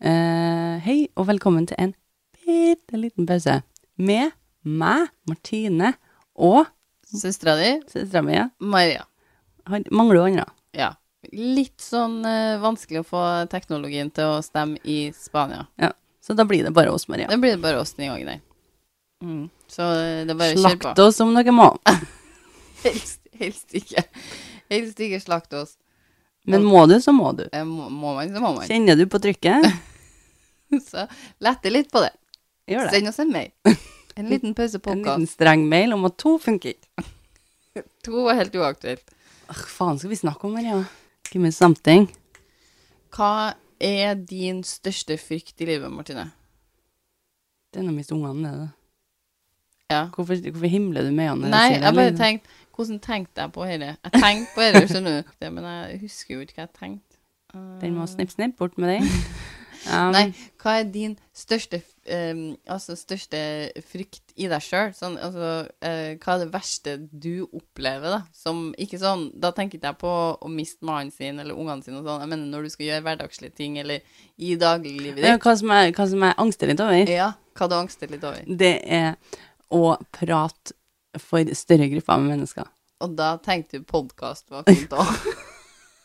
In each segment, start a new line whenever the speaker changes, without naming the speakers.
Eh, og velkommen til en bitte liten pause med meg, Martine, og
Søstera di,
søstera mi. ja.
Maria.
Han- Mangler hun andre?
Ja. Litt sånn eh, vanskelig å få teknologien til å stemme i Spania.
Ja. Så da blir det bare oss, Maria.
Da blir det bare oss den gangen der. Mm. Så eh, det er bare å kjøre
Slakt
på.
oss om dere må.
Helst, helst ikke. Helst ikke slakt oss.
Men må du, så må du.
Eh, Må, må man, så må man.
Kjenner du på trykket?
Så lette litt på det.
Gjør det.
Send oss en mail. En liten pause på
En
oss.
liten streng mail om at to funker ikke.
To er helt uaktuelt.
Åh, faen skal vi snakke om, Maria? Give me something.
Hva er din største frykt i livet, Martine?
Det er noe mist ungene nede.
Ja.
Hvorfor, hvorfor himler du med øynene? når
Nei,
sier det,
jeg bare
eller?
tenkte Hvordan tenkte jeg på dette? Jeg tenkte på dette, skjønner du. Det, men jeg husker jo ikke hva jeg tenkte. Eh,
Den må snipp, snipp, bort med den. Um,
Nei, hva er din største, f- eh, altså største frykt i deg sjøl? Sånn, altså, eh, hva er det verste du opplever, da? Som ikke sånn Da tenker ikke jeg på å miste mannen sin eller ungene sine og sånn. Jeg mener når du skal gjøre hverdagslige ting, eller i dagliglivet
det er
ditt.
jo hva som jeg, hva som jeg angster litt over,
Ja, hva du angster litt over.
det er å prate for større grupper med mennesker.
Og da tenkte du podkast var fint òg.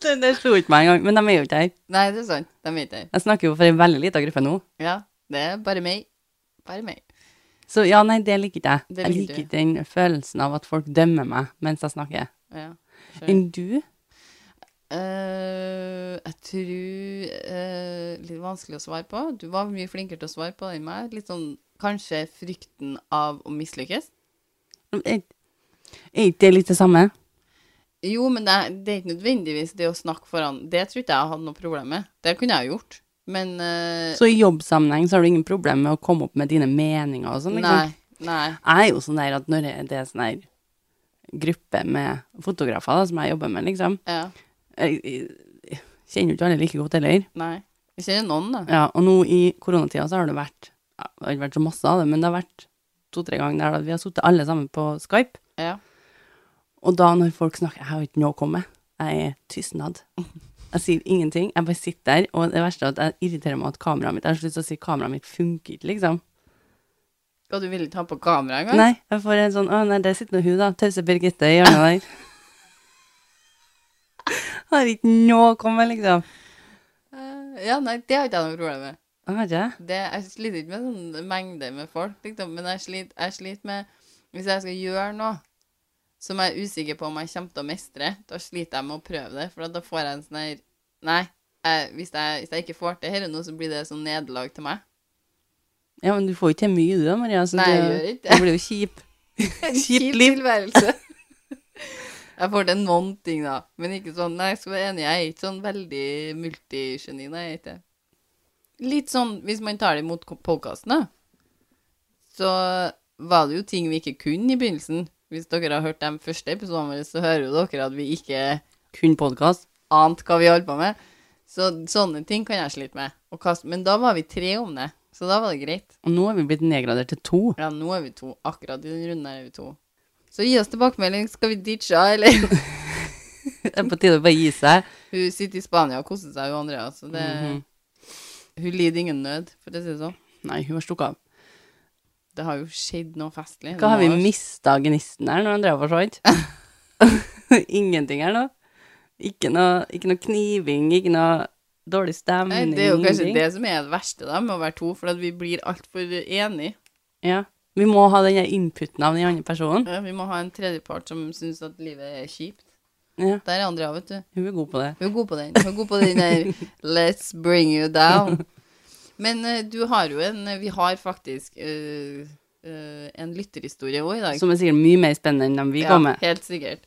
Det, det slo ikke meg engang, men de er jo ikke her.
Nei, det er sant. De er ikke her.
Jeg snakker jo for en veldig liten gruppe nå.
Ja, det er bare meg. Bare meg.
Så ja, nei, det liker ikke jeg.
Det
Jeg
liker
liker ikke den følelsen av at folk dømmer meg mens jeg snakker.
Ja. skjønner.
Enn du?
Eh, jeg tror eh, Litt vanskelig å svare på. Du var mye flinkere til å svare på enn meg. Litt sånn kanskje frykten av å mislykkes.
Er er ikke det litt det samme?
Jo, men det, er- det er ikke nødvendigvis det å snakke foran. Det tror ikke jeg hadde noe problem med. Det kunne jeg gjort. Men eh,
Så i jobbsammenheng så har du ingen problem med å komme opp med dine meninger og sånn? Liksom.
Nei. Nei.
Jeg er jo sånn der at når jeg- det er sånn der gruppe med fotografer da, som jeg jobber med, liksom
Ja.
Jeg, jeg, jeg kjenner jo ikke alle like godt heller.
Nei. Jeg kjenner noen, da.
Ja, og nå i koronatida så har det vært ja, Det har ikke vært så masse av det, men det har vært to-tre ganger der da vi har sittet alle sammen på Skype.
Ja.
Og da når folk snakker Jeg har jo ikke noe å komme med. Jeg er tystnad. Jeg sier ingenting. Jeg bare sitter der, og det verste er at jeg irriterer meg at kameraet mitt Jeg har så lyst til å si kameraet mitt funker ikke, liksom.
Og du ville ikke ha på kamera engang?
Nei, jeg får en sånn Å, nei, der sitter nå hun, da. Tause Birgitte i hjørnet der. Har ikke noe å komme med, liksom.
Eh, Ja, nei, det har ikke jeg noe problem med.
Jeg har ikke det.
det, jeg sliter ikke med sånn mengde med folk, liksom, men jeg sliter, jeg sliter med Hvis jeg skal gjøre noe som jeg er usikker på om jeg kommer til å mestre, da sliter jeg med å prøve det, for da får jeg en sånn her Nei, jeg, hvis, jeg, hvis jeg ikke får til dette nå, så blir det sånn nederlag til meg.
Ja, men du får jo ikke til mye, du da, Maria. Så
Nei,
det,
jeg gjør ikke det.
det blir jo kjip. Kjipt liv.
tilværelse. Jeg får til noen ting, da, men ikke sånn Nei, jeg skal være enig, jeg er ikke sånn veldig multigeni, nei, jeg er ikke det. Litt sånn, hvis man tar det imot podkasten, da, så var det jo ting vi ikke kunne i begynnelsen. Hvis dere har hørt de første episodene våre, så hører jo dere at vi ikke
Kun podkast.
ante hva vi holdt på med. Så sånne ting kan jeg slite med. Og kaste. Men da var vi tre om det, så da var det greit.
Og nå er vi blitt nedgradert til to.
Ja, nå er vi to. Akkurat i den runden her er vi to. Så gi oss tilbakemelding. Skal vi ditche, eller?
Det er på tide å bare gi seg.
Hun sitter i Spania og koser seg, hun Andrea. Så det,
Mhm.
Hun lider ingen nød, for å si det sånn.
Nei, hun har stukket av.
Det har jo skjedd noe festlig.
Hva har vi
Det må-
mista gnisten her når Andrea forsvant? Ingenting her nå. Ikke noe, ikke noe kniving, ikke noe dårlig
Nei,
stemning.
det er jo kanskje
ingenting.
det som er det verste da, med å være to, for at vi blir altfor enige.
Ja. Vi må ha den der inputen av den andre personen.
Ja, Vi må ha en tredjepart som syns at livet er kjipt.
Ja,
Der er Andrea, vet du.
hun er god på det.
Hun er god på den. Hun er god på den der 'let's bring you down'. Men eh, du har jo en Vi har faktisk eh, eh, en lytterhistorie òg i dag.
Som er sikkert mye mer spennende enn dem vi kom med.
Helt sikkert.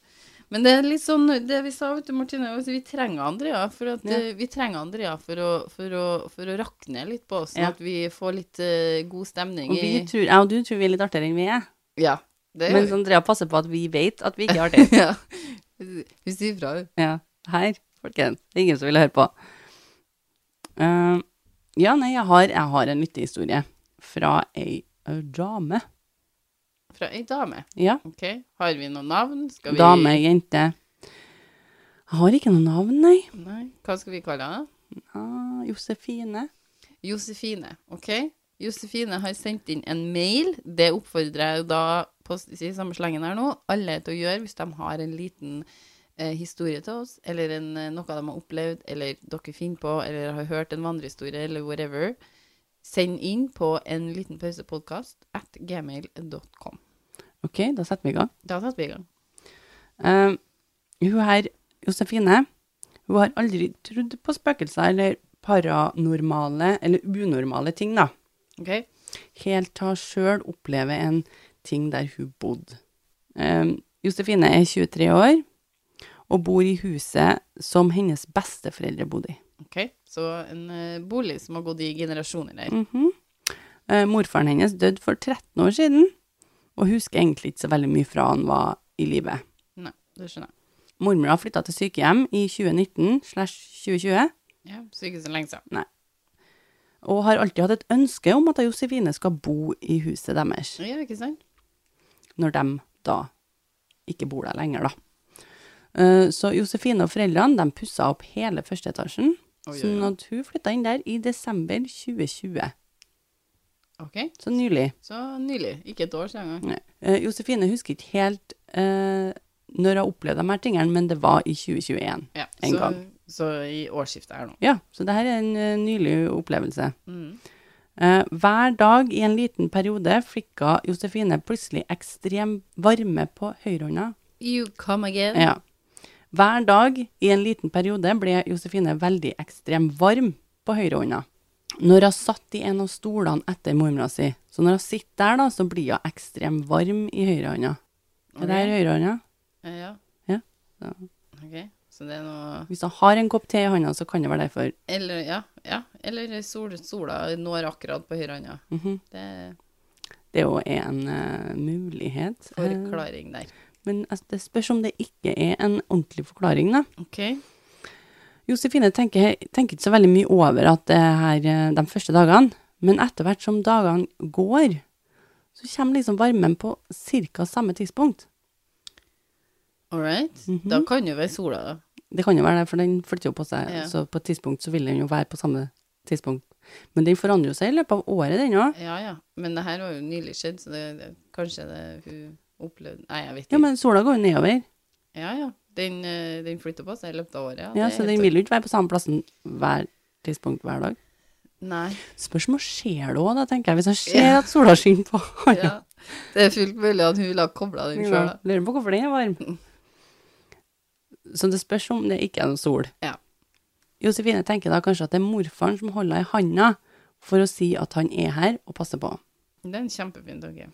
Men det er litt sånn det vi sa, vet du, Martine, altså, vi trenger Andrea for, at,
Ja.
eh, vi trenger Andrea for, å, for, å, for å rakne litt på oss, sånn
Ja.
at vi får litt eh, god stemning
Og vi
i
tror, jeg og du tror vi er litt artigere enn vi er.
Ja. Det
Mens
gjør
Andrea passer på at vi vet at vi ikke er artige.
vi. ja. Hun sier fra, hun.
Ja. Her, folkens. Det er ingen som vil høre på. Eh, ja, nei, jeg har, jeg har en lyttehistorie fra ei eh, dame.
Fra ei dame.
Ja.
OK. Har vi noe navn? Skal vi
Dame, jente. Jeg har ikke noe navn, nei.
Nei. Hva skal vi kalle henne?
Ah, Josefine.
Josefine, OK? Josefine har sendt inn en mail. Det oppfordrer jeg jo da på s- i samme slengen her nå, alle til å gjøre hvis de har en liten eh, historie til oss, eller en, eh, noe de har opplevd, eller dere finner på, eller har hørt en vandrehistorie, eller whatever. Send inn på en liten pausepodkast at gmail.com.
OK, da setter vi i gang.
Da satte vi i gang.
Eh, hun her, Josefine, hun har aldri trodd på spøkelser eller paranormale eller unormale ting, da.
OK?
Helt til hun sjøl opplever en ting der hun bodde. Eh, Josefine er 23 år og bor i huset som hennes besteforeldre bodde i.
ok. Så en eh, bolig som har gått i generasjoner her.
Mhm. Eh, morfaren hennes døde for 13 år siden, og husker egentlig ikke så veldig mye fra han var i livet.
Nei, det skjønner jeg.
Mormora flytta til sykehjem i 2019 slash 2020,
Ja, så ikke så lenge siden.
og har alltid hatt et ønske om at Josefine skal bo i huset deres,
Ja, ikke sant?
når de da ikke bor der lenger, da. Eh, Så Josefine og foreldrene de pussa opp hele første etasjen,
Oi, oi, oi.
sånn at hun flytta inn der i desember 2020.
OK.
Så nylig.
Så nylig. Ikke et år siden engang.
Nei. Eh, Josefine husker ikke helt eh, når hun opplevde de her tingene, men det var i 2021.
Ja,
En
så,
gang.
Så i årsskiftet her nå.
Ja, så det her er en eh, nylig opplevelse.
Mm.
Eh, hver dag i en liten periode flikka Josefine plutselig ekstrem varme på høyrehånda.
You come again.
Ja. Hver dag i en liten periode ble Josefine veldig ekstrem varm på høyrehånda. Når hun satt i en av stolene etter mormora si, så når hun sitter der, da, så blir hun ekstrem varm i høyrehånda. Er det her høyrehånda?
Eh, Ja.
Ja, så-
Ok, så det er noe...
Hvis han har en kopp te i hånda, så kan det være derfor.
Eller, ja, ja. Eller sol, sola når akkurat på høyre hånda.
Mhm.
Det er
Det er jo en eh, mulighet. Eh,
forklaring der.
men altså, det spørs om det ikke er en ordentlig forklaring, da.
Ok.
Josefine tenker, tenker ikke så veldig mye over at det her eh, de første dagene, men etter hvert som dagene går, så kommer liksom varmen på ca. samme tidspunkt.
All right.
Mhm.
Da kan jo være sola da.
Det kan jo være det, for den flytter jo på seg,
Ja.
så på et tidspunkt så vil den jo være på samme tidspunkt. Men den forandrer jo seg i løpet av året, den òg.
Ja, ja. Men det her var jo nylig skjedd, så det, det, kanskje det hun opplevde... Nei, jeg vet ikke.
Ja, men sola går jo nedover.
Ja, ja. Den, eh, den flytter på seg i løpet av året.
Ja,
det er
så
helt
den
sant.
vil jo ikke være på samme plassen hver tidspunkt hver dag.
Nei.
Spørs om hun ser det òg, da, tenker jeg. Hvis han ser at sola skinner på hånda.
Ja. Det er fullt mulig at hun ville ha koblet den selv da.
Lurer på hvorfor den er
Mm.
varm. Så det spørs om det ikke er noe sol.
Ja.
Josefine tenker da kanskje at det er morfaren som holder henne i handa for å si at han er her og passer på.
Det er en kjempefin tanke.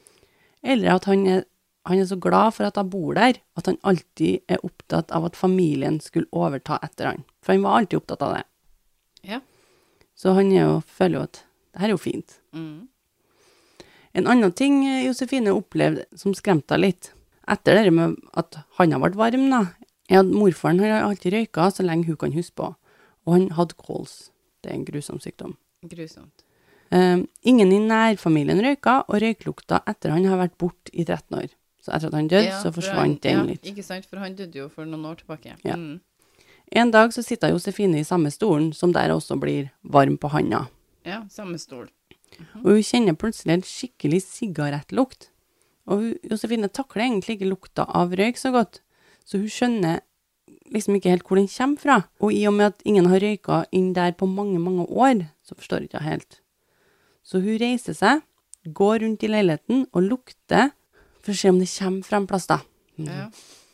Eller at han er, han er så glad for at hun bor der, at han alltid er opptatt av at familien skulle overta etter han. For han var alltid opptatt av det.
Ja.
Så han er jo, føler jo at det her er jo fint.
Mm.
En annen ting eh, Josefine opplevde som skremte henne litt, etter det med at handa ble varm, da, er at morfaren har alltid røyka så lenge hun kan huske på, og han hadde kols. Det er en grusom sykdom.
Grusomt.
Eh, ingen i nærfamilien røyka, og røyklukta etter han har vært borte i 13 år. Så etter at han døde,
Ja,
så
for
forsvant
han-
den litt.
Ja, ikke sant, for han døde jo for noen år tilbake.
Ja.
Mm.
En dag så sitter Josefine i samme stolen, som der også blir varm på handa.
ja samme stol.
og hun kjenner plutselig en skikkelig sigarettlukt. Og hun, Josefine takler egentlig ikke lukta av røyk så godt, så hun skjønner liksom ikke helt hvor den kommer fra. Og i og med at ingen har røyka inn der på mange, mange år, så forstår hun ikke helt. Så hun reiser seg, går rundt i leiligheten og lukter for å se om det kommer fra en plass, da.
Ja.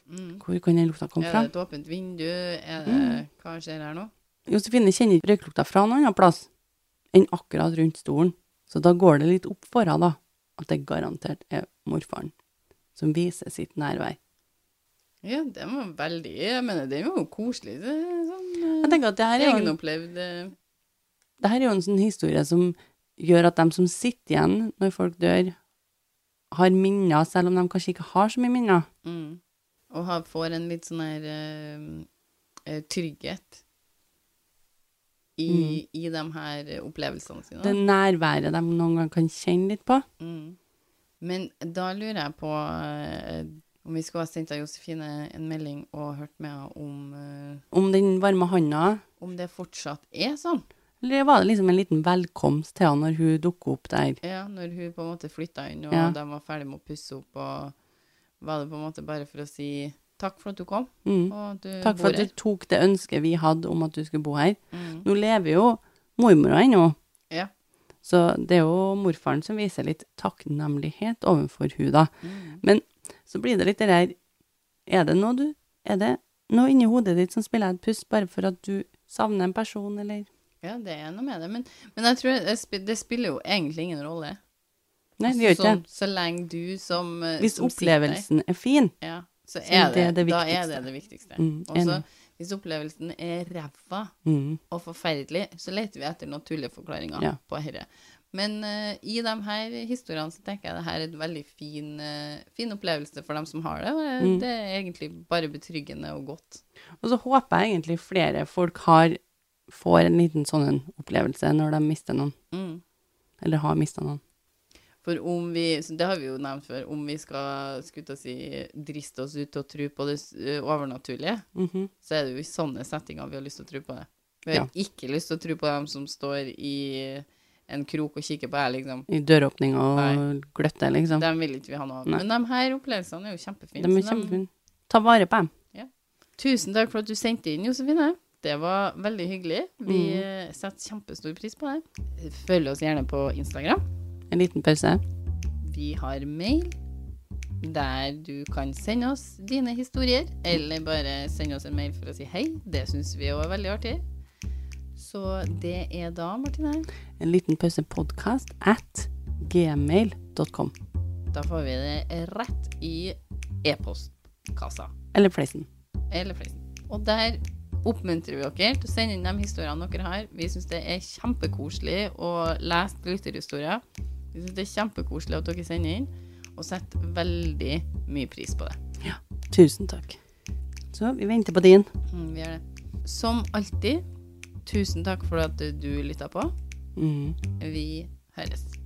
Mm.
Hvor kan den lukta komme
Er
fra?
det et åpent vindu?
Mm.
Er det, hva skjer her nå?
Josefine kjenner ikke røyklukta fra noen annen plass enn akkurat rundt stolen, så da går det litt opp for henne da, at det garantert er morfaren som viser sitt nærvær.
Ja, det var veldig Jeg mener, det var jo koselig. Det, er sånn,
Jeg tenker at det her
eh,
er jo en,
egenopplevd eh,
det her er jo en sånn historie som gjør at de som sitter igjen når folk dør, har minner, selv om de kanskje ikke har så mye minner.
mm. Og ha, får en litt sånn her eh, eh, trygghet i, i de her eh, opplevelsene sine.
Mm. Det nærværet de noen gang kan kjenne litt på.
Mm. Men da lurer jeg på eh, om vi skulle ha sendt av Josefine en melding og hørt med henne om, eh,
Om den varme handa,
om det fortsatt er sånn.
Eller var det liksom en liten velkomst til han når hun dukket opp der?
Ja, når hun på en måte flytta inn, og
Ja.
de var ferdig med å pusse opp, og var det på en måte bare for å si takk for at du kom,
Mm.
og at du
Takk for
bor
at
her.
du tok det ønsket vi hadde om at du skulle bo her.
Mm.
Nå lever jo mormora ennå,
Ja.
så det er jo morfaren som viser litt takknemlighet overfor hun da.
Mm.
Men så blir det litt det der Er det noe du Er det noe inni hodet ditt som spiller et puss bare for at du savner en person, eller
Ja, det er noe med det. Men, men jeg tror det sp- det spiller jo egentlig ingen rolle.
Nei, det gjør ikke
sånn,
det.
Så lenge du som eh,
Hvis
som sitter der-
opplevelsen er fin.
Ja,
Så
så er
det er
det,
det
da er
viktigste.
det det viktigste.
Mm,
Og så
enig.
hvis opplevelsen er ræva
Mm.
og forferdelig, så leter vi etter noen tulleforklaringer
Ja.
på dette. Men eh, i de her historiene så tenker jeg det her er en veldig fin, eh, fin opplevelse for dem som har det. Og eh,
Mm.
det er egentlig bare betryggende og godt.
Og så håper jeg egentlig flere folk har får en liten sånn en opplevelse når de mister noen,
Mm.
eller har mista noen.
For om vi, så det har vi jo nevnt før, om vi skal skulle til å si, driste oss ut til å tro på det eh, overnaturlige,
Mhm.
så er det jo i sånne settinger vi har lyst til å tro på det. Vi har ikke lyst til å tro på dem som står i en krok og kikker på her, liksom.
I døråpning og
Nei.
gløtte, liksom.
Dem vil ikke vi ha noe av.
Nei.
Men de her opplevelsene er jo kjempefine.
De er
så dem-
kjempefine. Ta vare på dem.
Tusen takk for at du sendte inn, Josefine. Det var veldig hyggelig. Vi
Mm.
eh, setter kjempestor pris på det. Følg oss gjerne på Instagram.
En liten pause.
Vi har mail der du kan sende oss dine historier, eller bare sende oss en mail for å si hei. Det syns vi òg er veldig artig. Så det er da, Martine.
En liten pause podcast at gmail.com.
Da får vi det rett i e-postkassa.
Eller Fleisen.
Eller fleisen. Og der oppmuntrer vi dere til å sende inn de historiene dere har. Vi syns det er kjempekoselig å lese lytterhistorier. Vi syns det er kjempekoselig at dere sender inn, og setter veldig mye pris på det.
Tusen takk. Så vi venter på din.
Mm, vi gjør det. Som alltid, tusen takk for at du lytta på.
Mhm.
Vi høres.